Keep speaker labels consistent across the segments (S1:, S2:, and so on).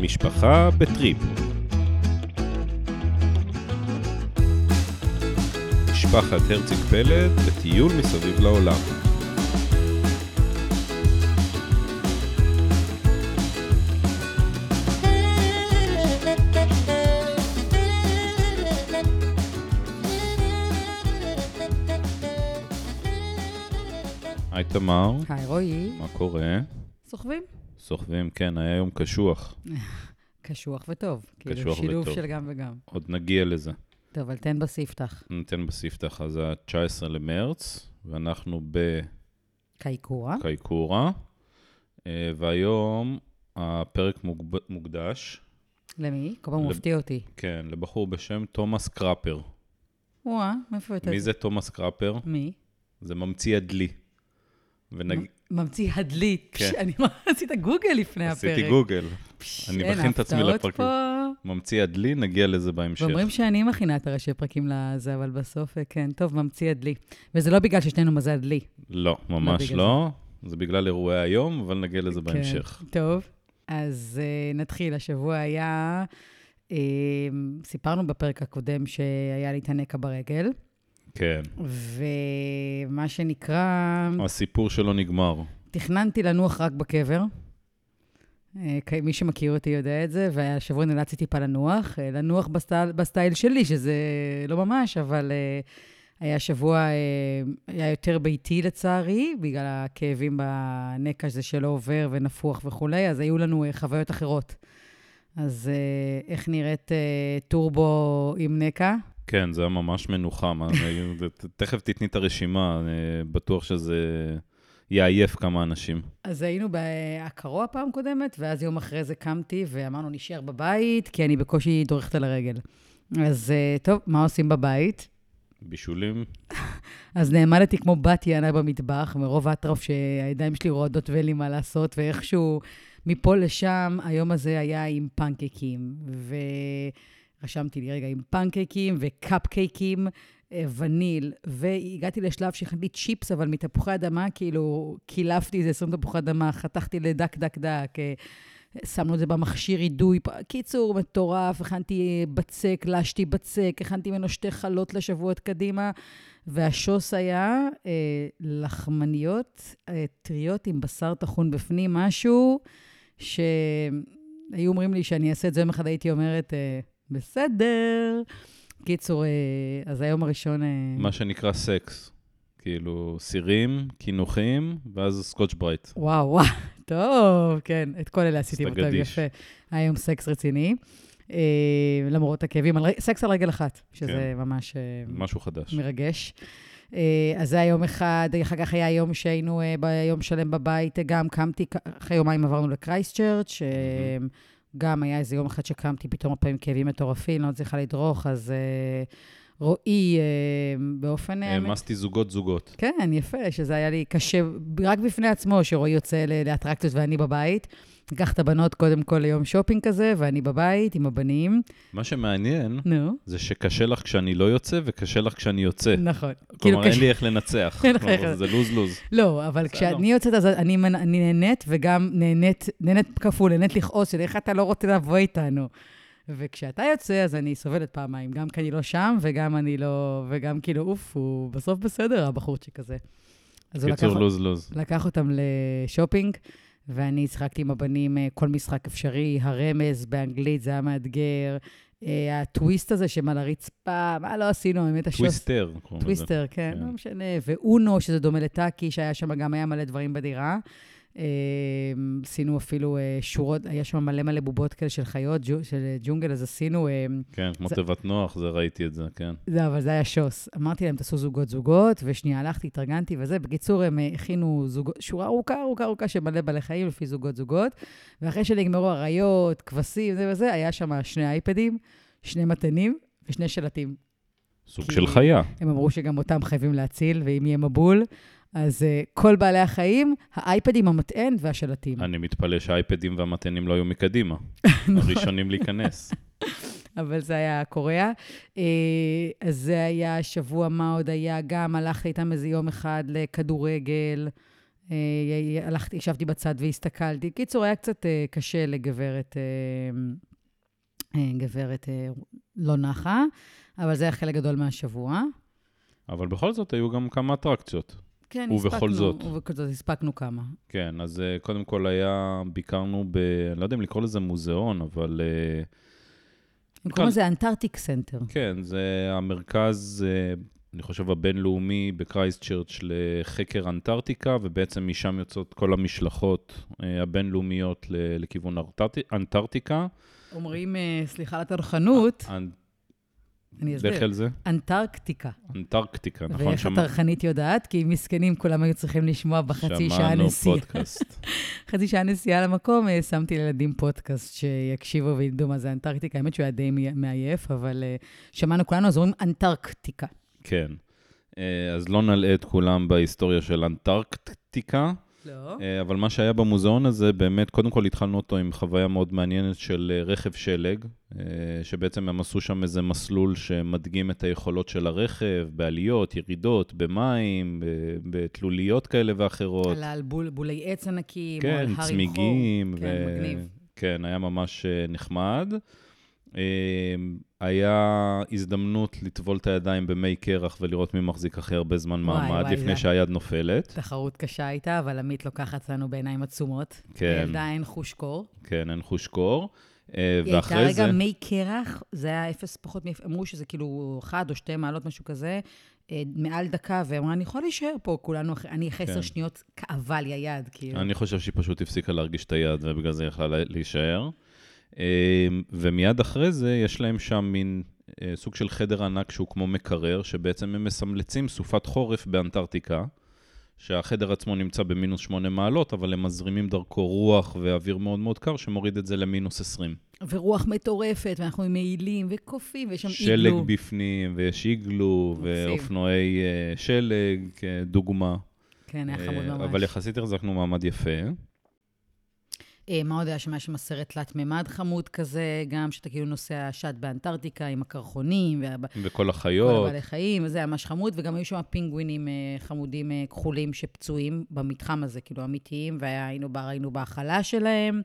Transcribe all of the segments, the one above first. S1: משפחה בטריפ. משפחת הרציג פלד בטיול מסביב לעולם. היי תמר,
S2: היי רועי,
S1: מה קורה?
S2: סוחבים?
S1: סוחבים, כן, היה יום קשוח,
S2: קשוח וטוב. כאילו
S1: קשוח
S2: שילוב
S1: וטוב.
S2: של גם וגם.
S1: עוד נגיע לזה.
S2: טוב, אבל תן בספתח.
S1: ניתן בספתח, אז ה-19 למרץ, ואנחנו
S2: קייקורה.
S1: בקייקורה, אה, והיום הפרק מוגב- מוקדש,
S2: למי? כל פעם הוא
S1: לב-
S2: מפתיע אותי.
S1: כן, לבחור בשם תומאס קראפר.
S2: וואה, מאיפה אתה?
S1: מי זה תומאס קראפר?
S2: מי?
S1: זה ממציא הדלי. ונג...
S2: מ- ממציא הדלי.
S1: כן.
S2: פש, אני מה- עשית גוגל לפני הפרק.
S1: עשיתי גוגל.
S2: פש,
S1: אני
S2: אין,
S1: מכין את עצמי
S2: ההפתעות
S1: לפרקים.
S2: פה.
S1: ממציא הדלי, נגיע לזה בהמשך.
S2: ואומרים שאני מכינה את הראשי פרקים לזה, אבל בסוף, אה, כן, טוב, ממציא הדלי. וזה לא בגלל ששנינו מזל דלי.
S1: לא, ממש
S2: בגלל
S1: לא. זה בגלל אירועי היום, אבל נגיע לזה בהמשך.
S2: כן, טוב, אז uh, נתחיל. השבוע היה, uh, סיפרנו בפרק הקודם שהיה לי את הנקע ברגל,
S1: כן.
S2: ומה שנקרא,
S1: הסיפור שלו נגמר.
S2: תכננתי לנוח רק בקבר. אה, כ- מי שמכיר אותי יודע את זה, והשבוע נאלצתי טיפה לנוח. אה, לנוח בסטייל, בסטייל שלי, שזה לא ממש, אבל אה, היה שבוע, אה, היה יותר ביתי לצערי, בגלל הכאבים בנקע שזה שלא עובר ונפוח וכולי, אז היו לנו אה, חוויות אחרות. אז אה, איך נראית אה, טורבו עם נקע?
S1: כן, זה היה ממש מנוחה. מה, זה- זה- ת- תכף תתני את הרשימה, אה, בטוח שזה יעייף כמה אנשים.
S2: אז היינו בעקרו הפעם קודמת, ואז יום אחרי זה קמתי ואמרנו, נשאר בבית, כי אני בקושי דורכת על הרגל. אז אה, טוב, מה עושים בבית?
S1: בישולים,
S2: כן. אז נעמדתי כמו בת יענה במטבח, מרוב האטרף שהידיים שלי רועדות ואין לי מה לעשות, ואיכשהו מפה לשם, היום הזה היה עם פנקייקים. ורשמתי לי, רגע, עם פנקייקים וקפקייקים, אה, וניל, והגעתי לשלב שהכנתי צ'יפס, אבל מתפוחי אדמה, כאילו, קילפתי איזה 20 תפוחי אדמה, חתכתי לדק דק דק. אה, שמנו את זה במכשיר אידוי. פ- קיצור, מטורף, הכנתי בצק, לשתי בצק, הכנתי ממנו שתי חלות לשבועות קדימה, והשוס היה אה, לחמניות אה, טריות עם בשר טחון בפנים, משהו שהיו אומרים לי שאני אעשה את זה יום אחד, הייתי אומרת, אה, בסדר. קיצור, אה, אז היום הראשון... אה,
S1: מה שנקרא סקס. כאילו, סירים, קינוחים, ואז סקוטש ברייט.
S2: וואו, וואו, טוב, כן, את כל אלה עשיתי בטוב,
S1: סטגדיש.
S2: יפה. היה יום סקס רציני, אה, למרות הכאבים, על ר- סקס על רגל אחת, שזה ממש אה,
S1: משהו חדש.
S2: מרגש. אה, אז זה היה יום אחד, אחר כך היה יום שהיינו אה, ביום שלם בבית, אה, גם קמתי, כ- אחרי יומיים עברנו לקרייסט צ'רץ', אה,
S1: מהמם.
S2: גם היה איזה יום אחד שקמתי, פתאום הרבה פעמים כאבים מטורפים, לא מצליחה לדרוך, אז אה, רועי, אה, באופן... אה,
S1: העמסתי זוגות-זוגות.
S2: כן, יפה, שזה היה לי קשה, רק בפני עצמו, שרועי יוצא ל- לאטרקציות ואני בבית. ניקח את הבנות קודם כל ליום שופינג כזה, ואני בבית עם הבנים.
S1: מה שמעניין
S2: נו,
S1: זה שקשה לך כשאני לא יוצא, וקשה לך כשאני יוצא.
S2: נכון. כאילו
S1: כלומר,
S2: קשה.
S1: אין לי איך לנצח.
S2: אין לך
S1: כלומר,
S2: איך-
S1: זה לוז-לוז.
S2: לא, אבל
S1: בסדר.
S2: כשאני יוצאת, אז אני, מנ- אני נהנית, וגם נהנית, נהנית כפול, נהנית לכעוס, של איך אתה לא רוצה לבוא איתנו. וכשאתה יוצא, אז אני סובלת פעמיים, גם כי אני לא שם, וגם אני לא... וגם כאילו, אוף, הוא בסוף בסדר, הבחורצ'יק הזה. אז הוא לקח-
S1: קיצור, לוז-לוז.
S2: לקח אותם לשופינג, ואני שיחקתי עם הבנים אה, כל משחק אפשרי, הרמז באנגלית זה היה מאתגר, אה, הטוויסט הזה שהם על הרצפה, מה לא עשינו, האמת השוס...
S1: טוויסטר. קוראים לזה.
S2: טוויסטר, כן,
S1: כן.
S2: לא משנה, ואונו, שזה דומה לטאקי, שהיה שם גם היה מלא דברים בדירה. אה, עשינו אפילו אה, שורות, היה שם מלא מלא בובות כאלה של חיות, ג'ו- של אה, ג'ונגל, אז עשינו... אה,
S1: כן, כמו
S2: זה-
S1: תיבת נוח, זה ראיתי את זה, כן.
S2: זה, אבל זה היה שוס. אמרתי להם, תעשו זוגות-זוגות, ושנייה הלכתי, התארגנתי וזה. בקיצור, הם אה, הכינו זוג... שורה ארוכה, ארוכה, ארוכה של מלא בעלי חיים לפי זוגות-זוגות. ואחרי שנגמרו אריות, כבשים, זה וזה, היה שם שני אייפדים, שני מתנים ושני שלטים.
S1: סוג
S2: כי-
S1: של חיה.
S2: הם אמרו שגם אותם חייבים להציל, ואם יהיה מבול, אז אה, כל בעלי החיים, האייפדים, המטען והשלטים.
S1: אני מתפלא שהאייפדים והמתנים לא היו מקדימה.
S2: נכון.
S1: הראשונים להיכנס.
S2: אבל זה היה קוריאה. אה, אז זה היה שבוע, מה עוד היה? גם הלכתי איתם איזה יום אחד לכדורגל, אה, י- י- הלכתי, ישבתי בצד והסתכלתי. קיצור, היה קצת אה, קשה לגברת, אה, אה, גברת אה, לא נחה, אבל זה היה חלק גדול מהשבוע.
S1: אבל בכל זאת, היו גם כמה אטרקציות.
S2: כן,
S1: ובכל
S2: הספקנו-
S1: זאת.
S2: ובכל זאת הספקנו כמה.
S1: כן, אז אה, קודם כל היה, ביקרנו ב... אני לא יודע אם לקרוא לזה מוזיאון, אבל... אה,
S2: הם קוראים לזה אנטארקטיק סנטר.
S1: כן, זה המרכז, אה, אני חושב, הבינלאומי בקרייסט צ'רץ' לחקר אנטארקטיקה, ובעצם משם יוצאות כל המשלחות אה, הבינלאומיות ל- לכיוון ארטרטי- אנטארקטיקה.
S2: אומרים, אה, סליחה על הטרחנות,
S1: אנ-
S2: אני
S1: לך
S2: אסביר,
S1: על זה,
S2: אנטארקטיקה.
S1: אנטארקטיקה, נכון?
S2: ואיך הטרחנית יודעת? כי מסכנים כולם היו צריכים לשמוע בחצי שעה
S1: שמענו
S2: נסיעה.
S1: פודקאסט.
S2: חצי שעה נסיעה למקום, אה, שמתי לילדים פודקאסט שיקשיבו וידעו מה זה אנטארקטיקה. האמת שהוא היה די מי- מעייף, אבל אה, שמענו כולנו, אז אומרים אנטארקטיקה.
S1: כן. אה, אז לא נלאה את כולם בהיסטוריה של אנטארקטיקה.
S2: לא.
S1: אה, אבל מה שהיה במוזיאון הזה, באמת, קודם כל התחלנו אותו עם חוויה מאוד מעניינת של אה, רכב שלג, אה, שבעצם הם עשו שם איזה מסלול שמדגים את היכולות של הרכב, בעליות, ירידות, במים, ב- בתלוליות כאלה ואחרות.
S2: על על בול- בולי עץ ענקים, או על
S1: אה, כן,
S2: הר עם חור.
S1: צמיגים.
S2: כן,
S1: ו-
S2: מגניב.
S1: כן, היה ממש אה, נחמד. אה, היה הזדמנות לטבול את הידיים במי קרח ולראות מי מחזיק הכי הרבה זמן
S2: וואי,
S1: מעמד,
S2: וואי,
S1: לפני
S2: זה-
S1: שהיד נופלת.
S2: תחרות קשה הייתה, אבל עמית לוקחת לנו בעיניים עצומות.
S1: כן.
S2: לילדה אין חוש קור.
S1: כן, אין חוש קור. אה,
S2: היא הייתה
S1: ואחרי זה...
S2: רגע מי קרח, זה היה אפס פחות, מאפ- אמרו שזה כאילו אחת או שתי מעלות, משהו כזה, אה, מעל דקה, ואמרה, אני יכולה להישאר פה, כולנו, אחרי- אני אחרי עשר
S1: כן.
S2: שניות כאבה לי היד, כאילו.
S1: אני חושב שהיא פשוט הפסיקה להרגיש את היד, ובגלל זה היא יכלה לה- להישאר. אה, ומיד אחרי זה, יש להם שם מין אה, סוג של חדר ענק שהוא כמו מקרר, שבעצם הם מסמלצים סופת חורף באנטארקטיקה, שהחדר עצמו נמצא במינוס 8 מעלות, אבל הם מזרימים דרכו רוח ואוויר מאוד מאוד קר, שמוריד את זה למינוס 20.
S2: ורוח מטורפת, ואנחנו מעילים וקופים, ויש שם
S1: שלג
S2: איגלו.
S1: בפנים, ויש איגלו,
S2: מקסים.
S1: ואופנועי אה, שלג, אה, דוגמה.
S2: כן, היה חמוד
S1: אה, אבל
S2: ממש.
S1: יחסית החזקנו מעמד יפה.
S2: אה, מה עוד היה שם? היה שם סרט תלת-ממד חמוד כזה, גם שאתה כאילו נוסע שט באנטארקטיקה עם הקרחונים, וה-
S1: וכל
S2: כל
S1: החיות,
S2: הבעלי חיים, וזה היה ממש חמוד, וגם היו שם פינגווינים אה, חמודים אה, כחולים שפצועים במתחם הזה, כאילו אמיתיים, והיינו בה- ראינו בהאכלה שלהם.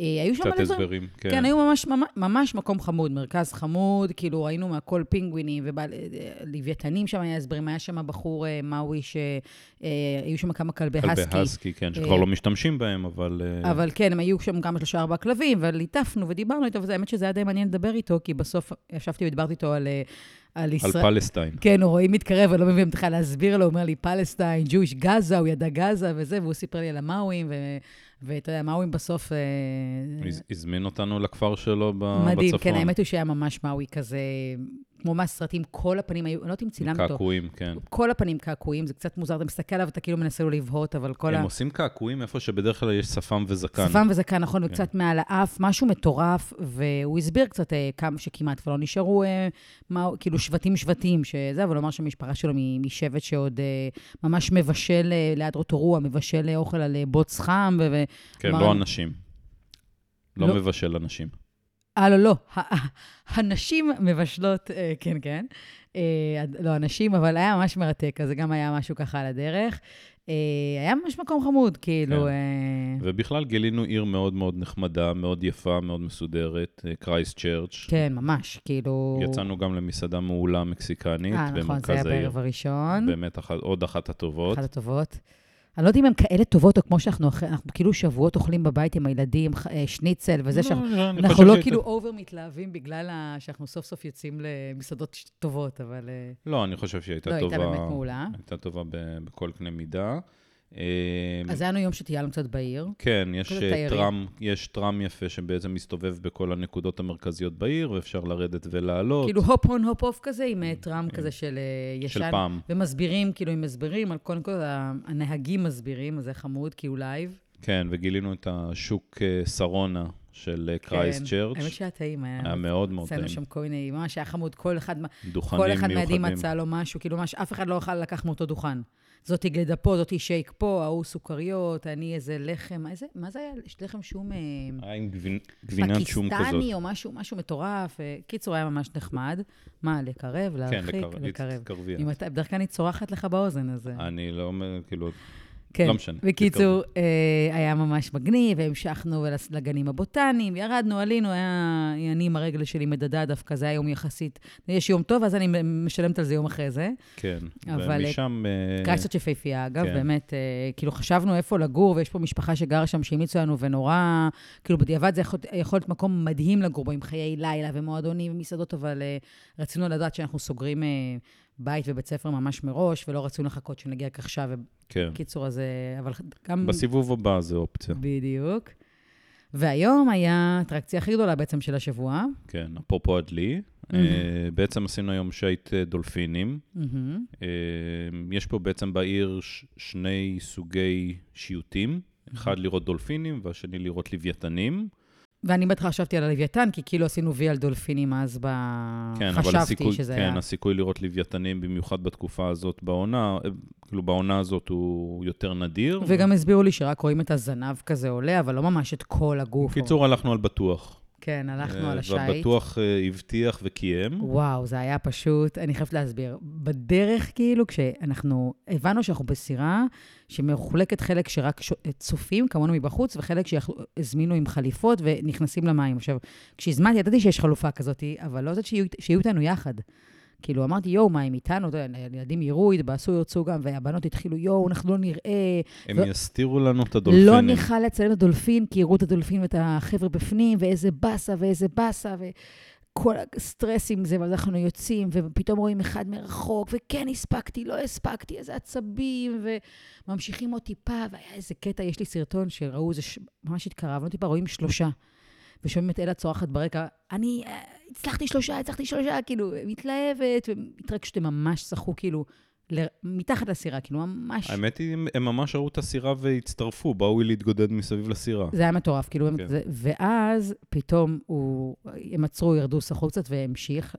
S2: אה, היו שם
S1: קצת
S2: מלא דברים.
S1: הסברים.
S2: כן. כן, היו ממש, ממש- ממש מקום חמוד, מרכז חמוד, כאילו ראינו מהכל פינגווינים ולוויתנים שם היה הסברים, היה שם בחור אה, מאווי שהיו שם כמה כלבי
S1: כלבי
S2: הסקי.
S1: הסקי, כן, שכבר
S2: אה,
S1: לא משתמשים בהם, אבל... אה,
S2: אבל כן, הם היו שם כמה שלושה ארבעה כלבים, וליטפנו ודיברנו איתו, והאמת שזה היה די מעניין לדבר איתו, כי בסוף ישבתי ודיברתי איתו על, אה, על
S1: על
S2: ישראל...
S1: פלסטיין.
S2: כן, הוא רואים מתקרב, ולא מבין בכלל להסביר לו, הוא אומר לי, פלסטיין, ג'ויש, גאזה, הוא ידע גאזה וזה, והוא סיפר לי על המאואים, ו- ואתה יודע, המאואים בסוף... אה,
S1: הוא הז- הזמין אותנו לכפר שלו ב- בצפון.
S2: מדהים, כן, האמת הוא שהיה ממש מאווי כזה, כמו מהסרטים, כל הפנים היו, אני לא יודעת אם צילמת אותו,
S1: קעקועים, כן.
S2: כל הפנים קעקועים, זה קצת מוזר, אתה מסתכל עליו, אתה כאילו מנסה לא לבהות, אבל כל
S1: הם
S2: ה...
S1: עושים קעקועים איפה שבדרך כלל יש שפם וזקן.
S2: שפם וזקן, נכון,
S1: כן.
S2: וקצת מעל האף, משהו מטורף, והוא הסביר קצת אה, כמה שכמעט ולא נשארו, אה, מה, כאילו שבטים-שבטים, שזה, אבל הוא אמר שהמשפחה שלו מ- משבט שעוד אה, ממש מבשל אה, ליד רוטורua, מבשל אה, אוכל על אה, בוץ חם, ו... ו-
S1: כן,
S2: כלומר,
S1: לא
S2: הם-
S1: אנשים. לא
S2: לא.
S1: מבשל אנשים.
S2: אה, לא, לא, ה- ה- הנשים מבשלות, אה, כן, כן. אה, הד- לא, הנשים, אבל היה ממש מרתק, אז זה גם היה משהו ככה על הדרך. אה, היה ממש מקום חמוד, כאילו...
S1: כן.
S2: אה,
S1: ובכלל גילינו עיר מאוד מאוד נחמדה, מאוד יפה, מאוד מסודרת, קרייסט צ'רץ'.
S2: כן, ממש, כאילו...
S1: יצאנו גם למסעדה מעולה מקסיקנית
S2: אה, נכון, זה היה
S1: במרכז העיר.
S2: בערב הראשון.
S1: באמת, אחת- עוד אחת הטובות.
S2: אחת הטובות. אני לא יודעת אם הן כאלה טובות, או כמו שאנחנו אחרי, אנחנו כאילו שבועות אוכלים בבית עם הילדים, ח- אה, שניצל וזה, שאנחנו
S1: לא, אני
S2: אנחנו
S1: חושב
S2: לא
S1: שהיא-
S2: כאילו אובר מתלהבים בגלל ה- שאנחנו סוף סוף יוצאים למסעדות ש- טובות, אבל אה,
S1: לא, אני חושב שהיא הייתה
S2: לא,
S1: טובה.
S2: הייתה באמת מעולה.
S1: הייתה טובה ב- בכל קנה מידה. אמ,
S2: אז היה לנו יום שטיילנו קצת בעיר.
S1: כן, יש
S2: כזה
S1: אה,
S2: תיירים.
S1: טראם, יש טראם יפה שבעצם מסתובב בכל הנקודות המרכזיות בעיר, ואפשר לרדת ולעלות.
S2: כאילו הופ הון הופ אוף כזה, עם אה, טראם כזה של אה, ישן.
S1: כן, של פעם.
S2: ומסבירים, כאילו, הם מסבירים, על קודם כל ה- הנהגים מסבירים, אז זה חמוד, כי הוא לייב.
S1: כן, וגילינו את השוק אה, שרונה של אה, קרייסט
S2: כן.
S1: צ'רץ'.
S2: האמת שהיה טעים,
S1: היה מאוד מאוד
S2: עשינו
S1: טעים.
S2: שם כל מיני, ממש היה חמוד, כל אחד... מה-
S1: דוכנים
S2: כל
S1: מיוחדים.
S2: אחד מהילדים מצא לו משהו, כאילו ממש אף אחד לא יכל לקח מאותו דוכן. זאתי גלידה פה, זאתי שייק פה, ההוא סוכריות, אני איזה לחם, איזה, מה זה היה? לחם שום אה,
S1: היה עם גבין- גבינת שום כזאת.
S2: פקיסטני או משהו, משהו מטורף. אה, קיצור, היה ממש נחמד. מה, לקרב,
S1: כן,
S2: להרחיק,
S1: לקרב. כן.
S2: לקרב.
S1: תתקרבי.
S2: אם אתה, בדרך כלל אני צורחת לך באוזן, אז... אה,
S1: אני לא אומר, כאילו,
S2: כן.
S1: לא משנה.
S2: בקיצור, אה, היה ממש מגניב, והמשכנו ולס- לגנים הבוטניים, ירדנו, עלינו, היה... אני עם הרגל שלי מדדה דווקא, זה היה יום יחסית. יש יום טוב, אז אני משלמת על זה יום אחרי זה.
S1: כן,
S2: אבל-
S1: ומשם... אה,
S2: קצת שפהפייה, אגב,
S1: כן.
S2: באמת, אה, כאילו חשבנו איפה לגור, ויש פה משפחה שגרה שם שהמליצו לנו, ונורא, כאילו בדיעבד זה יכול, יכול להיות מקום מדהים לגור בו, עם חיי לילה ומועדונים ומסעדות, אבל אה, רצינו לדעת שאנחנו סוגרים אה, בית ובית ספר ממש מראש, ולא רצינו לחכות שנגיע כך שעה,
S1: כן.
S2: ובקיצור, אז... אה, אבל גם...
S1: בסיבוב הבא זה אופציה,
S2: בדיוק. והיום היה האטרקציה הכי גדולה בעצם של השבוע.
S1: כן. אפרופו הדלי, אה, בעצם עשינו היום שייט אה, דולפינים.
S2: מהמם.
S1: אה, יש פה בעצם בעיר ש- שני סוגי שיוטים, אחד לראות דולפינים והשני לראות לוויתנים.
S2: ואני בהתחלה חשבתי על הלוויתן, כי כאילו עשינו וי על דולפינים אז ב...
S1: כן, אבל
S2: חשבתי
S1: הסיכוי,
S2: שזה
S1: כן,
S2: היה...
S1: הסיכוי לראות לוויתנים, במיוחד בתקופה הזאת בעונה, אה, כאילו בעונה הזאת הוא יותר נדיר.
S2: וגם הסבירו לי שרק רואים את הזנב כזה עולה, אבל לא ממש את כל הגוף.
S1: בקיצור, הלכנו על בטוח.
S2: כן, הלכנו
S1: אה,
S2: על השייט.
S1: והבטוח אה, הבטיח וקיים.
S2: וואו, זה היה פשוט, אני חייבת להסביר. בדרך, כאילו, כשאנחנו הבנו שאנחנו בסירה שמחולקת חלק שרק ש... צופים, כמונו מבחוץ, וחלק שהזמינו עם חליפות ונכנסים למים. עכשיו, כשהזמנתי, ידעתי שיש חלופה כזאת, אבל לא זאת שיהיו, שיהיו איתנו יחד. כאילו, אמרתי, יואו, מה, הם איתנו? אתה יודע, הילדים יראו, התבאסו, ירצו גם, והבנות התחילו, יואו, אנחנו לא נראה,
S1: הם
S2: ו-
S1: יסתירו לנו את הדולפינים.
S2: לא נוכל לצלם את הדולפין, כי יראו את הדולפין ואת החבר'ה בפנים, ואיזה באסה ואיזה באסה, וכל הסטרס עם זה, ואז אנחנו יוצאים, ופתאום רואים אחד מרחוק, וכן הספקתי, לא הספקתי, איזה עצבים, וממשיכים עוד טיפה, והיה איזה קטע, יש לי סרטון שראו, זה ש... ממש התקרבנו טיפה, רואים שלושה. ושומעים את אלה צורחת ברקע, אני אה, הצלחתי שלושה, הצלחתי שלושה, כאילו, מתלהבת, והתרגשו, ממש שחו, כאילו, ל... מתחת לסירה, כאילו, ממש...
S1: האמת היא, הם- הם ממש ראו את הסירה והצטרפו, באו להתגודד מסביב לסירה.
S2: זה היה מטורף, כאילו,
S1: כן.
S2: כן. זה, ואז פתאום הוא, הם עצרו, ירדו, שחו קצת והמשיך.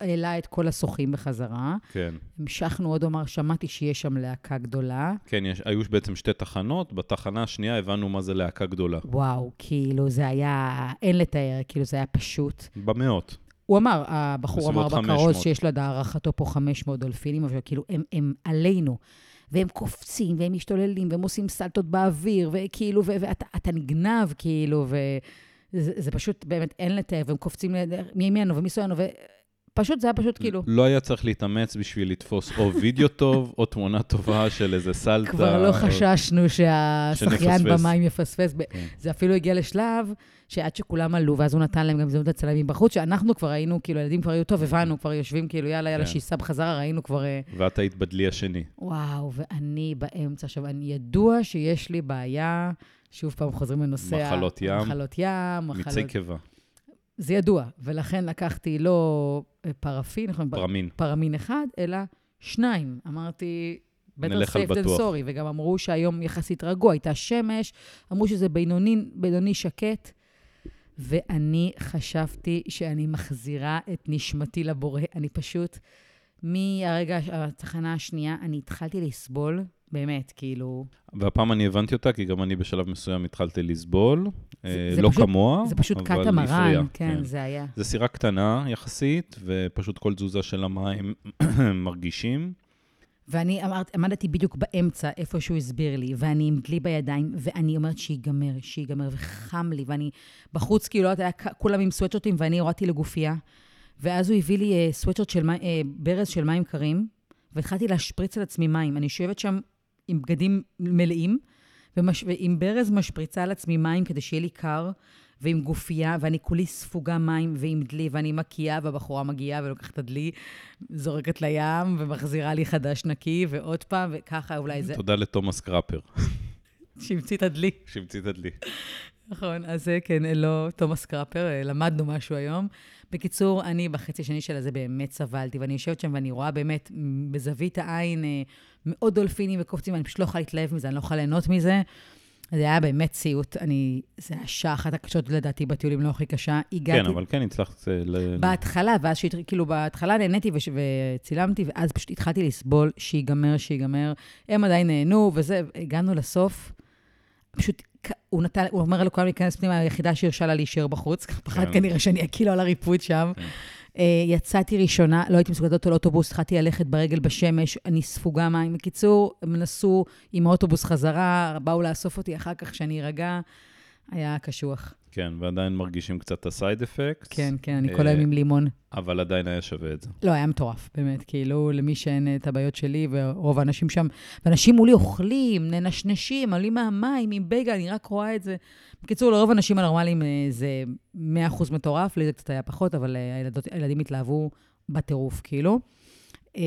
S2: העלה את כל השוחים בחזרה.
S1: כן.
S2: המשכנו עוד אומר, שמעתי שיש שם להקה גדולה.
S1: כן, יש, היו בעצם שתי תחנות, בתחנה השנייה הבנו מה זה להקה גדולה.
S2: וואו, כאילו, זה היה, אין לתאר, כאילו, זה היה פשוט.
S1: במאות.
S2: הוא אמר, הבחור אמר
S1: בסביבות
S2: בכרוז
S1: 500.
S2: שיש לו להערכתו פה 500 דולפינים, אבל כאילו, הם, הם עלינו. והם קופצים, והם משתוללים, והם עושים סלטות באוויר, וכאילו, ו- ואתה אתה נגנב, כאילו, וזה זה פשוט באמת אין לתאר, והם קופצים ל- מימינו ומשמאלנו, ופשוט, זה היה פשוט כאילו,
S1: לא היה צריך להתאמץ בשביל לתפוס או וידאו טוב, או תמונה טובה של איזה סלטה. אה,
S2: כבר לא
S1: או-
S2: חששנו שהשחיין
S1: שנפספס.
S2: במים יפספס. ב-
S1: כן.
S2: זה אפילו הגיע לשלב שעד שכולם עלו, ואז הוא נתן להם גם הזדמנות לצלם מבחוץ, שאנחנו כבר היינו, כאילו, הילדים כבר היו טוב, הבנו, כבר יושבים, כאילו, יאללה, יאללה,
S1: כן.
S2: שייסע בחזרה, ראינו כבר... אה,
S1: ואת היית בדלי השני.
S2: וואו, ואני באמצע. עכשיו, אני ידוע שיש לי בעיה, שוב פעם חוזרים לנושא... ה-
S1: מחלות ים.
S2: מחלות ים, מחלות...
S1: מיצי קיבה,
S2: זה ידוע, ולכן לקחתי לא אה, פרפין, נכון?
S1: ברמין.
S2: פרמין אחד, אלא שניים. אמרתי, better
S1: נלך על
S2: safe than
S1: בטוח.
S2: sorry, וגם אמרו שהיום יחסית רגוע, הייתה שמש, אמרו שזה בינוני, בינוני שקט, ואני חשבתי שאני מחזירה את נשמתי לבורא. אני פשוט, מהרגע, התחנה השנייה, אני התחלתי לסבול, באמת, כאילו,
S1: והפעם אני הבנתי אותה, כי גם אני בשלב מסוים התחלתי לסבול. אה,
S2: זה
S1: לא
S2: פשוט-
S1: כמוה,
S2: זה פשוט
S1: אבל
S2: קטמרן,
S1: הפריע,
S2: כן, כן, זה היה.
S1: זו סירה קטנה יחסית, ופשוט כל תזוזה של המים מרגישים.
S2: ואני אמרת, עמדתי בדיוק באמצע, איפה שהוא הסביר לי, ואני עם דלי בידיים, ואני אומרת שיגמר, שיגמר, וחם לי, ואני בחוץ, כאילו, לא יודעת, היה כ- כולם עם סוואטשרטים, ואני הורדתי לגופייה. ואז הוא הביא לי אה, סוואטשרט של מים, אה, ברז של מים קרים, והתחלתי להשפריץ על עצמי מים. אני שואבת שם עם בגדים מלאים, ומש... ועם ברז משפריצה על עצמי מים כדי שיהיה לי קר, ועם גופייה, ואני כולי ספוגה מים, ועם דלי, ואני מקיאה, והבחורה מגיעה ולוקחת את הדלי, זורקת לים, ומחזירה לי חדש נקי, ועוד פעם, וככה אולי זה...
S1: תודה לתומאס קראפר,
S2: שהמציא את הדלי.
S1: שהמציא את הדלי.
S2: נכון, אז זה כן, לא תומאס קראפר, אה, למדנו משהו היום. בקיצור, אני בחצי השני שלה זה באמת סבלתי, ואני יושבת שם ואני רואה באמת מ- בזווית העין אה, מאות דולפינים וקופצים, ואני פשוט לא יכולה להתלהב מזה, אני לא יכולה ליהנות מזה. זה היה באמת סיוט, אני... זה השעה אחת הקשות לדעתי בטיולים, לא הכי קשה. הגעתי...
S1: כן, אבל כן, הצלחת אה, ל...
S2: בהתחלה, ואז שהת... כאילו בהתחלה נהניתי וש... וצילמתי, ואז פשוט התחלתי לסבול, שיגמר, שיגמר. הם עדיין נהנו, וזה, הגענו לסוף. פשוט, כ- הוא נתן, הוא אומר לכולם להיכנס פנימה, היחידה שהרשה לה להישאר בחוץ, פחד כנראה שאני אקיא לו על הריפוד שם. אה, יצאתי ראשונה, לא הייתי מסוגלת לעלות על אוטובוס, התחלתי ללכת ברגל בשמש, אני ספוגה מים. בקיצור, הם נסעו עם האוטובוס חזרה, באו לאסוף אותי אחר כך שאני ארגע. היה קשוח.
S1: כן, ועדיין מרגישים קצת את הסייד אפקט.
S2: כן, כן, אני כל היום עם לימון.
S1: אבל עדיין היה שווה את זה.
S2: לא, היה מטורף, באמת. כאילו, למי שאין את הבעיות שלי, ורוב האנשים שם, ואנשים מולי אוכלים, ננשנשים, עולים מהמים עם בייגל, אני רק רואה את זה. בקיצור, לרוב האנשים הנורמליים אה, זה 100% מטורף, לי זה קצת היה פחות, אבל אה, הילדות, הילדים התלהבו בטירוף, כאילו. אה,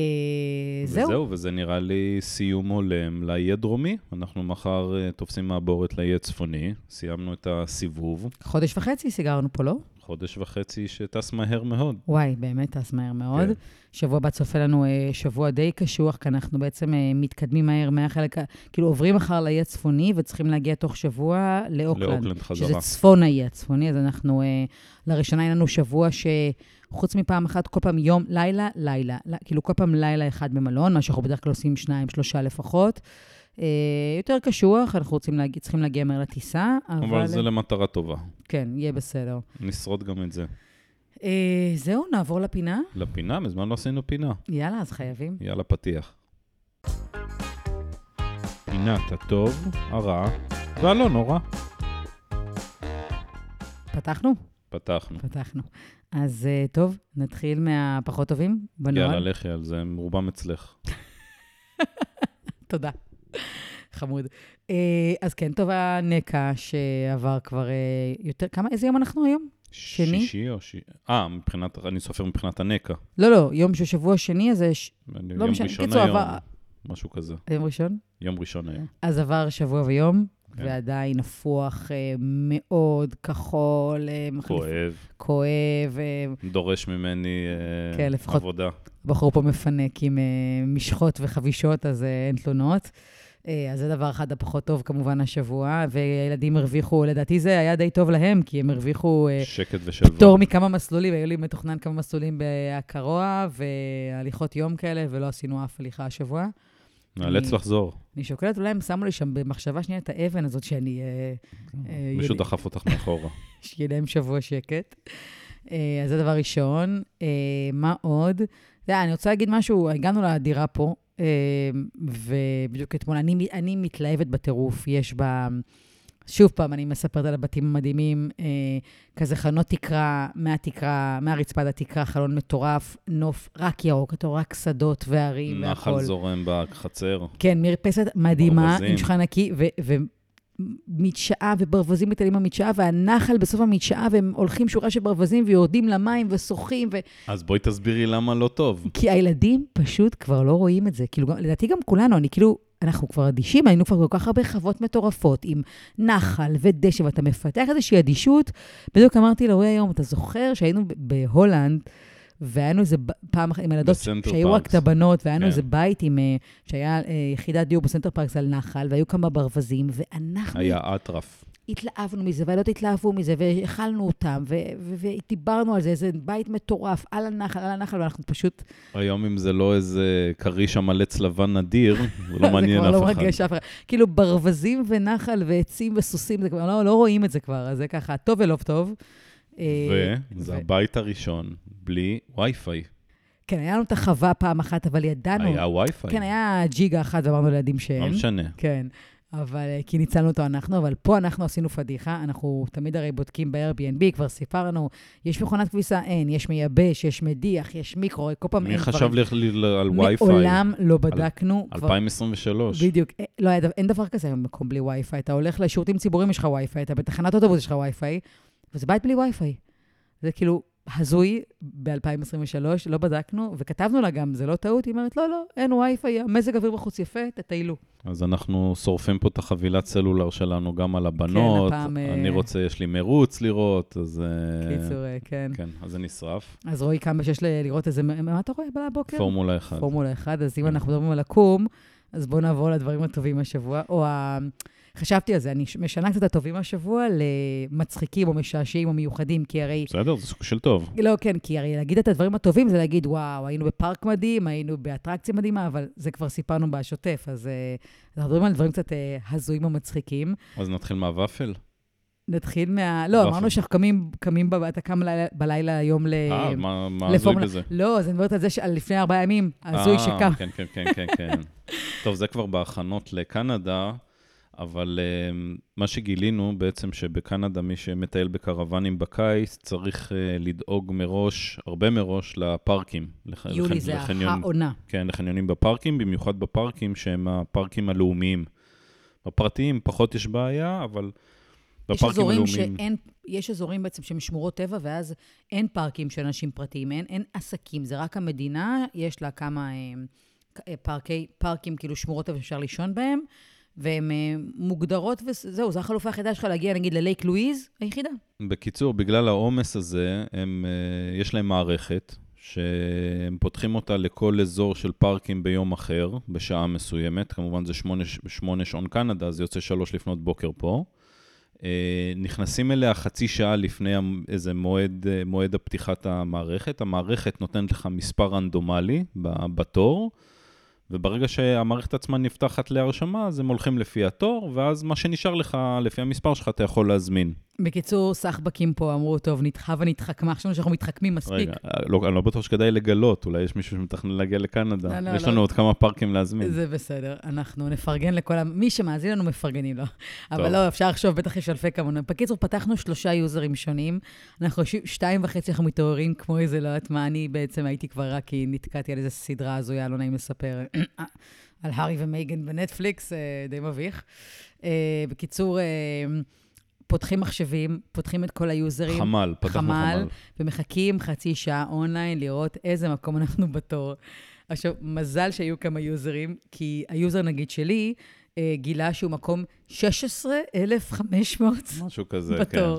S2: זהו.
S1: וזהו, וזה נראה לי סיום הולם לאי הדרומי. אנחנו מחר אה, תופסים מעבורת לאי הצפוני. סיימנו את הסיבוב,
S2: חודש וחצי סיגרנו פה, לא?
S1: חודש וחצי שטס מהר מאוד.
S2: וואי, באמת טס מהר מאוד.
S1: כן.
S2: כן. שבוע הבא צופה לנו אה, שבוע די קשוח, כי אנחנו בעצם אה, מתקדמים מהר מהחלק, ה- כאילו עוברים מחר לאי הצפוני וצריכים להגיע תוך שבוע לאוקלנד.
S1: לאוקלנד חזרה.
S2: שזה צפון האי הצפוני, אז אנחנו, אה, לראשונה אין לנו שבוע שחוץ מפעם אחת, כל פעם יום, לילה, לילה. ל- כאילו כל פעם לילה אחד במלון, מה שאנחנו בדרך כלל עושים שניים, שלושה לפחות. אה, יותר קשוח, אנחנו רוצים להגיע, צריכים להגיע מהר לטיסה, אבל...
S1: אבל זה לא- למטרה טובה.
S2: כן, יהיה בסדר.
S1: נשרוד גם את זה.
S2: אה, זהו, נעבור לפינה.
S1: לפינה, מזמן לא עשינו פינה.
S2: יאללה, אז חייבים.
S1: יאללה, פתיח. פינת הטוב, הרע והלא נורא.
S2: פתחנו?
S1: פתחנו.
S2: פתחנו. אז אה, טוב, נתחיל מהפחות טובים בנוהל.
S1: יאללה, לכי על זה, הם רובם אצלך.
S2: תודה. חמוד. אה, אז כן, טוב, הנקע שעבר כבר אה, יותר, כמה, איזה יום אנחנו היום? שני?
S1: שישי או שישי? אה, מבחינת, אני סופר מבחינת הנקע.
S2: לא, לא, יום של שבוע שני, אז זה ש-
S1: אני-
S2: לא
S1: יום
S2: משנה,
S1: ראשון
S2: קיצור,
S1: היום,
S2: עבר-
S1: משהו כזה.
S2: יום ראשון?
S1: יום ראשון היום.
S2: אז עבר שבוע ויום,
S1: כן.
S2: ועדיין נפוח אה, מאוד כחול, אה, מחליף-
S1: כואב,
S2: כואב, אה,
S1: דורש ממני אה,
S2: כן, לפחות-
S1: עבודה.
S2: הבחור פה מפנק עם אה, משחות וחבישות, אז אה, אין תלונות. אה, אז זה דבר אחד הפחות טוב כמובן השבוע, והילדים הרוויחו, לדעתי זה היה די טוב להם, כי הם הרוויחו אה,
S1: שקט
S2: פטור
S1: ושלווה.
S2: מכמה מסלולים, היו לי מתוכנן כמה מסלולים בהקרוע והליכות יום כאלה, ולא עשינו אף הליכה השבוע.
S1: נאלץ
S2: אני-
S1: לחזור.
S2: אני שוקלת, אולי הם שמו לי שם במחשבה שנייה את האבן הזאת שאני... אה, אה, יהיה
S1: מישהו
S2: לי-
S1: דחף אותך מאחורה.
S2: שיהיה להם שבוע שקט. אה, אז זה דבר ראשון. אה, מה עוד? אתה יודע, אני רוצה להגיד משהו, הגענו לדירה פה, אה, ובדיוק אתמול, אני, אני מתלהבת בטירוף, יש בה... שוב פעם, אני מספרת על הבתים המדהימים, אה, כזה חנות תקרה, מהתקרה, מהרצפה עד התקרה, חלון מטורף, נוף רק ירוק, אתה רואה רק שדות וערים והכול.
S1: נחל זורם בחצר.
S2: כן, מרפסת מדהימה,
S1: ברווזים.
S2: עם שולחן נקי, ומדשאה, וברווזים מטיילים במדשאה, והנחל בסוף המדשאה, והם הולכים שורה של ברווזים ויורדים למים ושוחים, ו...
S1: אז בואי תסבירי למה לא טוב.
S2: כי הילדים פשוט כבר לא רואים את זה. כאילו, גם, לדעתי גם כולנו, אני כאילו, אנחנו כבר אדישים, היינו כבר כל כך הרבה חוות מטורפות, עם נחל ודשא, ואתה מפתח איזושהי אדישות. בדיוק אמרתי לאורי היום, אתה זוכר שהיינו ב- בהולנד, והיינו איזה ב- פעם אחת עם הילדות,
S1: בסנטר
S2: שהיו רק
S1: פארקס.
S2: את הבנות, והיינו
S1: כן.
S2: איזה בית עם, אה, שהיה אה, יחידת דיור בסנטר פארקס על נחל, והיו כמה ברווזים, ואנחנו
S1: היה אטרף.
S2: התלהבנו מזה, והילדות התלהבו מזה, והאכלנו אותם, ו- ו- ודיברנו על זה, איזה בית מטורף, על הנחל, על הנחל, ואנחנו פשוט
S1: היום אם זה לא איזה כריש עמלץ לבן נדיר, זה לא מעניין
S2: זה כבר לא
S1: אף אחד.
S2: מרגש אף אחד. כאילו, ברווזים ונחל ועצים וסוסים, זה כבר לא, לא רואים את זה כבר, אז זה ככה, טוב ולא טוב. אה,
S1: וזה הבית הראשון בלי וי-פיי.
S2: כן, היה לנו את החווה פעם אחת, אבל ידענו...
S1: היה וי-פיי.
S2: כן, היה ג'יגה אחת, ואמרנו לילדים שאין.
S1: לא משנה.
S2: כן, אבל אה, כי ניצלנו אותו אנחנו, אבל פה אנחנו עשינו פדיחה, אנחנו תמיד הרי בודקים ב-Airbnb, כבר סיפרנו, יש מכונת כביסה? אין, יש מייבש, יש מדיח, יש מיקרו, כל פעם
S1: מי
S2: לא, אין
S1: חשב
S2: דברים.
S1: לך ל- ל- על וי-פיי?
S2: מעולם לא בדקנו. כבר-
S1: 2023.
S2: בדיוק, אה, לא היה, דבר- אין דבר כזה היום במקום בלי וי-פיי. אתה הולך לשירותים ציבוריים, יש לך וי-פיי, אתה בתחנת אוטובוס, יש לך וי-פיי, וזה בית בלי וי-פיי. זה כאילו הזוי ב-2023, לא בדקנו, וכתבנו לה גם, זה לא טעות, היא אומרת, לא, לא, אין וי-פיי, המזג אוויר בחוץ יפה, תטיילו.
S1: אז אנחנו שורפים פה את החבילת סלולר שלנו גם על הבנות.
S2: כן, הפעם, אה,
S1: אני רוצה, יש לי מרוץ לראות, אז... אה,
S2: קיצור, אה, כן.
S1: כן, אז זה נשרף.
S2: אז רועי קם בשש ל- לראות איזה, מה מה אתה רואה בבוקר?
S1: פורמולה 1.
S2: כן. פורמולה 1, אז אם
S1: כן.
S2: אנחנו מדברים על עקום, אז בואו נעבור לדברים הטובים השבוע, או ה... חשבתי על זה, אני ש- משנה קצת את הטובים השבוע למצחיקים או משעשעים או מיוחדים, כי הרי
S1: בסדר, זה סוג של טוב.
S2: לא, כן, כי הרי להגיד את הדברים הטובים זה להגיד, וואו, היינו בפארק מדהים, היינו באטרקציה מדהימה, אבל זה כבר סיפרנו בשוטף, אז אה, אנחנו מדברים על דברים קצת אה, הזויים או מצחיקים.
S1: אז נתחיל מהוואפל.
S2: נתחיל מה... לא,
S1: באפל.
S2: אמרנו שאנחנו קמים, קמים בב- אתה קם לילה- בלילה היום ל...
S1: אה, מה מה הזוי
S2: לפורמולה.
S1: בזה?
S2: לא, אז אני מדברת על זה שעל לפני ארבעה ימים, הזוי שקם.
S1: אה, כן, כן, כן, כן, כן. טוב, זה כבר בהכנות לקנדה, אבל אה, מה שגילינו בעצם שבקנדה מי שמטייל בקרוונים בקיץ צריך אה, לדאוג מראש, הרבה מראש, לפארקים. לח-
S2: יולי
S1: לחן-
S2: זה
S1: לחניון-
S2: העונה.
S1: כן, לחניונים בפארקים, במיוחד בפארקים שהם הפארקים הלאומיים. בפרטיים פחות יש בעיה, אבל
S2: יש
S1: בפארקים
S2: אזורים
S1: הלאומיים...
S2: שאין, יש אזורים בעצם שהם שמורות טבע, ואז אין פארקים של אנשים פרטיים, אין, אין עסקים, זה רק המדינה, יש לה כמה אה, כ- אה, פארקי, פארקים, כאילו שמורות טבע שאפשר לישון בהם, והן אה, מוגדרות, וזהו, זו החלופה היחידה שלך להגיע, נגיד, ללייק לואיז, היחידה.
S1: בקיצור, בגלל העומס הזה, הם, אה, יש להם מערכת, שהם פותחים אותה לכל אזור של פארקים ביום אחר, בשעה מסוימת. כמובן זה שמונה, שמונה שעון קנדה, אז זה יוצא שלוש לפנות בוקר פה. אה, נכנסים אליה חצי שעה לפני המ- איזה מועד, אה, מועד הפתיחת המערכת. המערכת נותנת לך מספר רנדומלי ב- בתור, וברגע שהמערכת עצמה נפתחת להרשמה, אז הם הולכים לפי התור, ואז מה שנשאר לך, לפי המספר שלך, אתה יכול להזמין.
S2: בקיצור, סחבקים פה אמרו, טוב, נדחה ונדחק, מה חשבנו שאנחנו מתחכמים מספיק.
S1: רגע, לא, אני לא בטוח שכדאי לגלות, אולי יש מישהו שמתכנן להגיע לקנדה.
S2: לא, לא,
S1: יש
S2: לא.
S1: לנו עוד כמה פארקים להזמין.
S2: זה בסדר, אנחנו נפרגן לכל... המ- מי שמאזין לנו, מפרגנים לו. אבל
S1: טוב.
S2: לא, אפשר לחשוב, בטח יש אלפי כמונו. בקיצור, פתחנו שלושה יוזרים שונים. אנחנו יושבים, שתיים וחצי, אנחנו מתעוררים כמו איזה, לא יודעת מה, אני בעצם הייתי כבר רק כי נתקעתי על איזו סדרה הזויה, לא נעים לספר, על הארי ומייגן בנטפליקס, אה, די מביך. אה, בקיצור, אה, פותחים מחשבים, פותחים את כל היוזרים.
S1: חמ"ל, פתחנו חמ"ל.
S2: ומחכים חצי שעה אונליין לראות איזה מקום אנחנו בתור. עכשיו, מזל שהיו כמה יוזרים, כי היוזר, נגיד שלי, אה, גילה שהוא מקום 16,500
S1: משהו כזה, כן.
S2: בתור.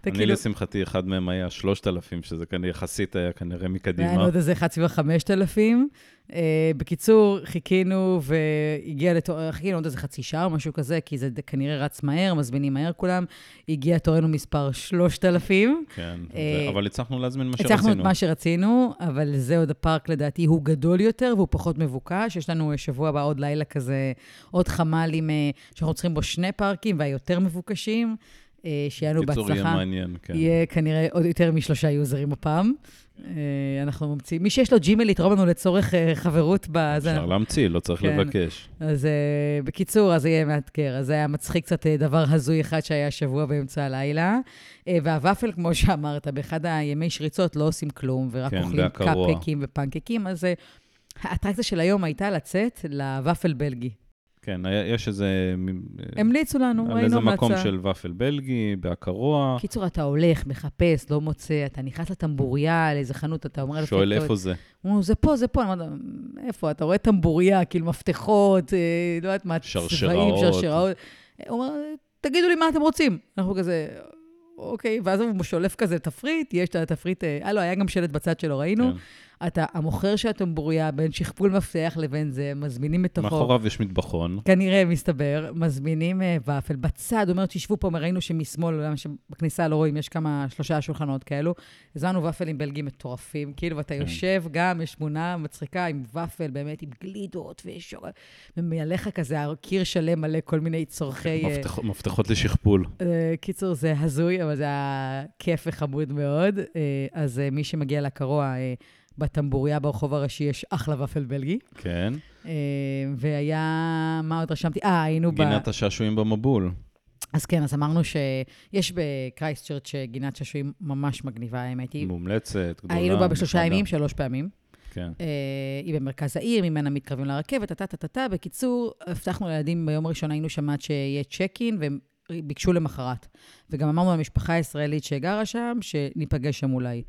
S2: אתה כאילו,
S1: אני לשמחתי, אחד מהם היה 3,000, שזה כנראה יחסית היה כנראה
S2: היה
S1: מקדימה.
S2: עוד איזה אחד סביב ה-5,000. Uh, בקיצור, חיכינו והגיע לתור, חיכינו עוד איזה חצי שעה או משהו כזה, כי זה ד- כנראה רץ מהר, מזמינים מהר כולם. הגיע תורנו מספר 3,000.
S1: כן, זה-
S2: אה,
S1: אבל הצלחנו להזמין מה
S2: הצלחנו את
S1: שרצינו.
S2: מה שרצינו, אבל זה עוד הפארק לדעתי, הוא גדול יותר והוא פחות מבוקש. יש לנו אה, שבוע הבא עוד לילה כזה, עוד חמ"ל עם, אה, שאנחנו צריכים בו שני פארקים והיותר מבוקשים, אה, שיהיה לנו
S1: בקיצור, יהיה
S2: בהצלחה.
S1: מעניין, כן.
S2: יהיה כנראה עוד יותר משלושה יוזרים הפעם. אה, אנחנו ממציאים, מי שיש לו ג'ימל יתרום לנו לצורך אה, חברות בזה.
S1: אפשר להמציא, לא צריך
S2: כן.
S1: לבקש.
S2: אז אה, בקיצור, אז זה יהיה מאתגר. אז זה היה מצחיק קצת אה, דבר הזוי אחד שהיה השבוע באמצע הלילה. אה, והוואפל, כמו שאמרת, באחד הימי שריצות לא עושים כלום, ורק
S1: כן,
S2: אוכלים
S1: והקרוע.
S2: קפקקים ופנקקים, אז אה, האטרקציה של היום הייתה לצאת לוואפל בלגי.
S1: כן, היה- יש איזה... מ-
S2: המליצו לנו, ראינו
S1: כן. על
S2: המלצה.
S1: איזה מקום של ופל בלגי, בהקרוע,
S2: קיצור, אתה הולך, מחפש, לא מוצא, אתה נכנס לטמבוריה, לאיזה חנות, אתה אומר...
S1: שואל
S2: לפרוטות,
S1: איפה זה.
S2: אמרו, זה פה, זה פה. אני אומרת, "אמ, איפה? אתה רואה טמבוריה, כאילו מפתחות, אה, לא יודעת מה, צבעים,
S1: שרשראות.
S2: שרשראות. הוא אומר, תגידו לי מה אתם רוצים. אנחנו כזה, אוקיי, ואז הוא שולף כזה תפריט, יש את התפריט, אה, אה, לא, היה גם שלט בצד שלו, ראינו.
S1: כן.
S2: אתה, המוכר של הטמבוריה, בין שכפול מפתח לבין זה, מזמינים מתוכו.
S1: מאחוריו יש מטבחון.
S2: כנראה, מסתבר, מזמינים אה, ופל בצד, אומרת, שישבו פה, ראינו שמשמאל, למה שבכניסה לא רואים, יש כמה, שלושה שולחנות כאלו. הזמנו ופלים בלגים מטורפים, כאילו, ואתה
S1: כן.
S2: יושב גם, יש תמונה מצחיקה עם ופל, באמת, עם גלידות, ויש... ומעליך כזה, קיר שלם מלא כל מיני צורכי... אה,
S1: כן, מפתח- מפתחות לשכפול.
S2: אה, קיצור, זה הזוי, אבל זה היה כיף וחמוד מאוד. אה, אז אה, מי שמגיע לקרוע, אה, בטמבוריה ברחוב הראשי יש אחלה ופל בלגי.
S1: כן.
S2: אה, והיה, מה עוד רשמתי? אה, היינו ב...
S1: גינת השעשועים במבול.
S2: אז כן, אז אמרנו שיש בקרייסט צ'רץ' גינת שעשועים ממש מגניבה, האמת היא.
S1: מומלצת, גדולה.
S2: היינו בה בשלושה
S1: נחמדה.
S2: ימים, שלוש פעמים.
S1: כן.
S2: אה, היא במרכז העיר, ממנה מתקרבים לרכבת, טה-טה-טה-טה. בקיצור, הבטחנו לילדים ביום הראשון, היינו שם עד שיהיה צ'ק אין, והם ביקשו למחרת. וגם אמרנו למשפחה הישראלית שגרה שם, שניפגש שם אולי.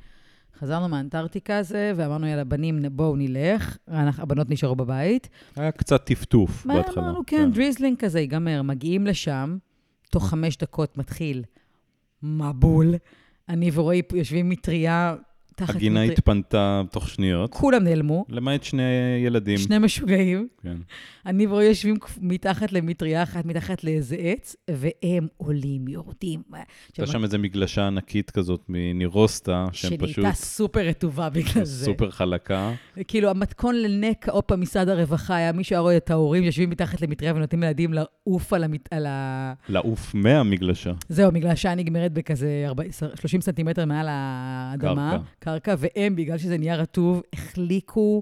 S2: חזרנו מהאנטארקטיקה הזה, ואמרנו, יאללה, בנים, בואו נלך. אנחנו- הבנות נשארו בבית.
S1: היה קצת טפטוף
S2: כן. מה
S1: בהתחלה.
S2: אמרנו? כן, דריזלינג כזה ייגמר. מגיעים לשם, תוך חמש דקות מתחיל מבול. אני ורועי פה יושבים מטריה, תחת...
S1: הגינה
S2: מטר-
S1: התפנתה תוך שניות,
S2: כולם נעלמו,
S1: למעט שני ילדים.
S2: שני משוגעים.
S1: כן.
S2: אני ורועי יושבים כפ- מתחת למטריה אחת, מתחת לאיזה עץ, והם עולים, יורדים.
S1: הייתה שם איזו מגלשה ענקית כזאת מנירוסטה, שהם פשוט
S2: שנהייתה סופר רטובה בגלל זה.
S1: סופר חלקה.
S2: כאילו, המתכון לנקע, עוד פעם, משרד הרווחה, היה מישהו היה רואה את ההורים שיושבים מתחת למטריה ונותנים לילדים לעוף על, המת... על ה...
S1: לעוף מהמגלשה.
S2: זהו, בגלל שהשעה נגמרת בכזה 40, 30 סנטימטר מעל האדמה, קרקע, והם, בגלל שזה נהיה רטוב, החליקו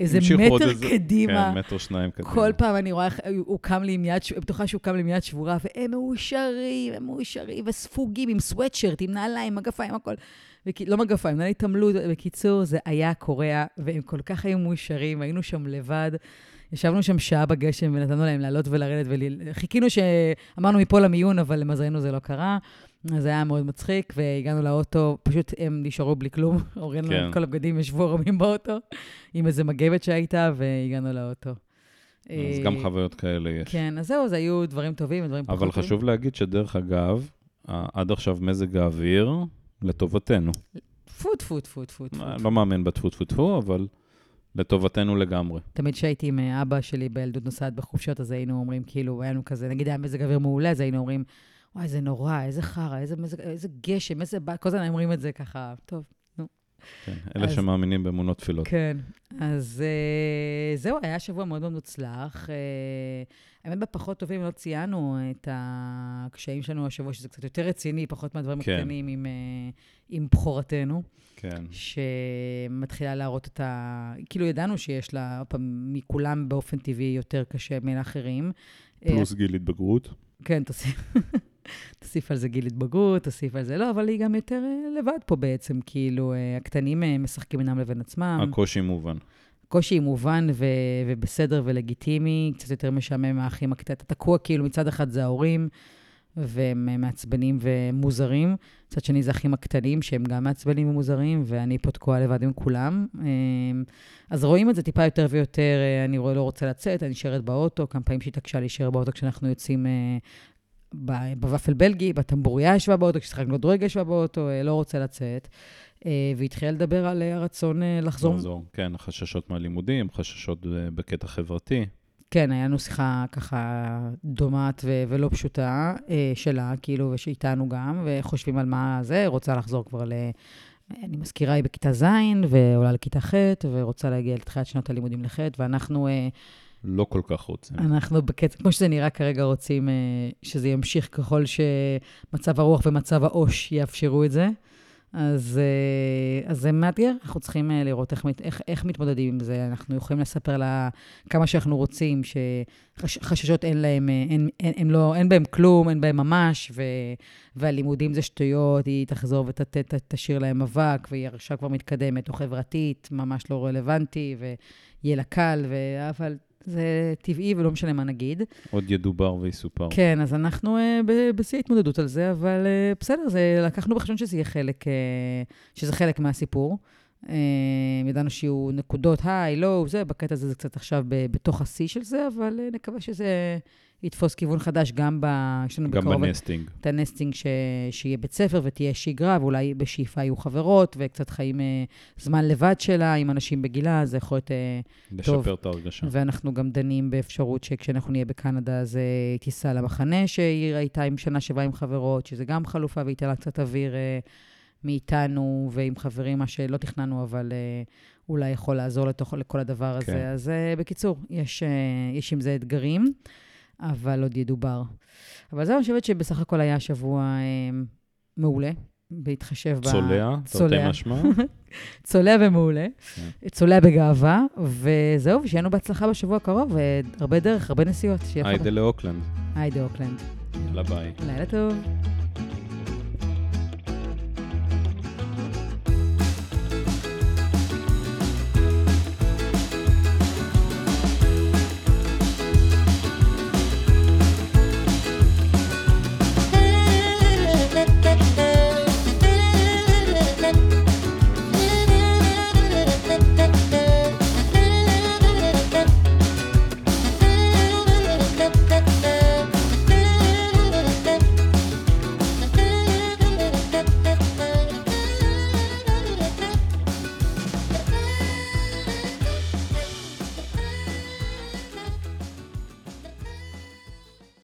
S2: איזה
S1: המשיכו עוד
S2: מטר
S1: איזה-
S2: קדימה.
S1: כן, מטר שניים קדימה.
S2: כל פעם אני רואה איך הוא קם לי עם יד, ש- בטוחה שהוא קם לי עם יד שבורה, והם מאושרים, הם מאושרים וספוגים עם סוואטשרט, עם נעליים, מגפיים, הכל. וכי- לא מגפיים, נעלי התעמלות. בקיצור, זה היה קורע, והם כל כך היו מאושרים, היינו שם לבד. ישבנו שם שעה בגשם ונתנו להם לעלות ולרדת, וחיכינו שאמרנו מפה למיון, אבל למזלנו זה לא קרה. אז זה היה מאוד מצחיק, והגענו לאוטו, פשוט הם נשארו בלי כלום. הורינו להם את
S1: כן.
S2: כל הבגדים, ישבו ערומים באוטו, עם איזה מגבת שהייתה, והגענו לאוטו.
S1: אז
S2: אה,
S1: גם חוויות כאלה יש.
S2: כן, אוקיי. אז זהו, זה היו דברים טובים, דברים פחות
S1: אבל
S2: טובים.
S1: חשוב להגיד שדרך אגב, ה- עד עכשיו מזג האוויר לטובתנו.
S2: טפו, טפו, טפו, טפו, טפו.
S1: לא מאמין בטפו טפו טפו, אבל לטובתנו לגמרי.
S2: תמיד כשהייתי עם אה, אבא שלי בילדות נוסעת בחופשות, אז היינו אומרים, כאילו, היה לנו כזה, נגיד היה מזג אוויר מעולה, אז היינו אומרים, וואי, זה נורא, איזה חרא, איזה, מזג- איזה גשם, איזה... בא-" כל הזמן היינו אומרים את זה ככה, טוב.
S1: כן, אלה
S2: אז-
S1: שמאמינים באמונות תפילות.
S2: כן. אז אה, זהו, היה שבוע מאוד מאוד מוצלח. אה, האמת, בפחות טובים לא ציינו את הקשיים שלנו השבוע, שזה קצת יותר רציני, פחות מהדברים
S1: כן.
S2: הקטנים עם, אה, עם בכורתנו.
S1: כן.
S2: שמתחילה להראות את ה... כאילו, ידענו שיש לה, עוד פעם, מכולם באופן טבעי יותר קשה מלאחרים.
S1: פלוס גיל התבגרות.
S2: אה, כן, תוסיף, תוסיף על זה גיל התבגרות, תוסיף על זה לא, אבל היא גם יותר אה, לבד פה בעצם, כאילו, אה, הקטנים אה, משחקים בינם לבין עצמם.
S1: הקושי מובן.
S2: הקושי מובן ו- ובסדר ולגיטימי, קצת יותר משעמם מהאחים הקטנים. אתה תקוע כאילו, מצד אחד זה ההורים, והם אה, מעצבנים ומוזרים, מצד שני זה האחים הקטנים, שהם גם מעצבנים ומוזרים, ואני פה תקועה לבד עם כולם. אה, אז רואים את זה טיפה יותר ויותר, אה, אני רוא- לא רוצה לצאת, אני נשארת באוטו, כמה פעמים שהתעקשה להישאר באוטו כשאנחנו יוצאים... אה, ב- בוואפל בלגי, בטמבוריה ישבה באוטו, כששיחקנו דרגה ישבה באוטו, אה, לא רוצה לצאת. אה, והתחילה לדבר על אה, הרצון אה, לחזור
S1: לחזור. כן, חששות מהלימודים, חששות אה, בקטע חברתי.
S2: כן, היה לנו שיחה ככה דומעת ו- ולא פשוטה אה, שלה, כאילו, ושאיתנו גם, וחושבים על מה זה, רוצה לחזור כבר ל... אני מזכירה, היא בכיתה ז', ועולה לכיתה ח', ורוצה להגיע לתחילת שנות הלימודים לח', ואנחנו אה,
S1: לא כל כך רוצים.
S2: אנחנו בקצב, כמו שזה נראה כרגע, רוצים אה, שזה ימשיך ככל שמצב הרוח ומצב העו"ש יאפשרו את זה. אז, אה, אז זה מאתגר, אנחנו צריכים אה, לראות איך, מת- איך, איך מתמודדים עם זה. אנחנו יכולים לספר לה כמה שאנחנו רוצים, שחששות אין להם, אה, אין, אין, אין, לא, אין בהם כלום, אין בהם ממש, ו, והלימודים זה שטויות, היא תחזור ותשאיר להם אבק, והיא עכשיו כבר מתקדמת, או חברתית, ממש לא רלוונטי, ויהיה לה קל, ו, אבל זה טבעי ולא משנה מה נגיד.
S1: עוד ידובר ויסופר.
S2: כן, אז אנחנו אה, ב- בשיא ההתמודדות על זה, אבל אה, בסדר, זה, לקחנו בחשבון שזה יהיה חלק, אה, שזה חלק מהסיפור. אה, ידענו שיהיו נקודות היי, לא, זה, בקטע הזה זה קצת עכשיו ב, בתוך השיא של זה, אבל אה, נקווה שזה יתפוס כיוון חדש גם ב... יש לנו
S1: גם
S2: בקרוב
S1: בנסטינג.
S2: את הנסטינג ש... שיהיה בית ספר ותהיה שגרה, ואולי בשאיפה יהיו חברות, וקצת חיים אה, זמן לבד שלה עם אנשים בגילה, זה יכול להיות... אה,
S1: לשפר את ההרגשה.
S2: ואנחנו גם דנים באפשרות שכשאנחנו נהיה בקנדה, אז אה, היא תיסע למחנה שהיא הייתה עם שנה שבאה עם חברות, שזה גם חלופה, והיא לה קצת אוויר אה, מאיתנו ועם חברים, מה שלא תכננו, אבל אה, אולי יכול לעזור לתוך, לכל הדבר הזה.
S1: כן.
S2: אז אה, בקיצור, יש, אה, יש עם זה אתגרים, אבל עוד ידובר. אבל זהו, אני חושבת שבסך הכל היה שבוע אה, מעולה, בהתחשב ב...
S1: צולע, תרתי
S2: צולע.
S1: משמע.
S2: צולע ומעולה. צולע בגאווה, וזהו, ושיהיה לנו בהצלחה בשבוע הקרוב, והרבה דרך, הרבה נסיעות. שיהיה לך-
S1: היידה לאוקלנד.
S2: היי, דה אוקלנד.
S1: יאללה ביי.
S2: לילה טוב.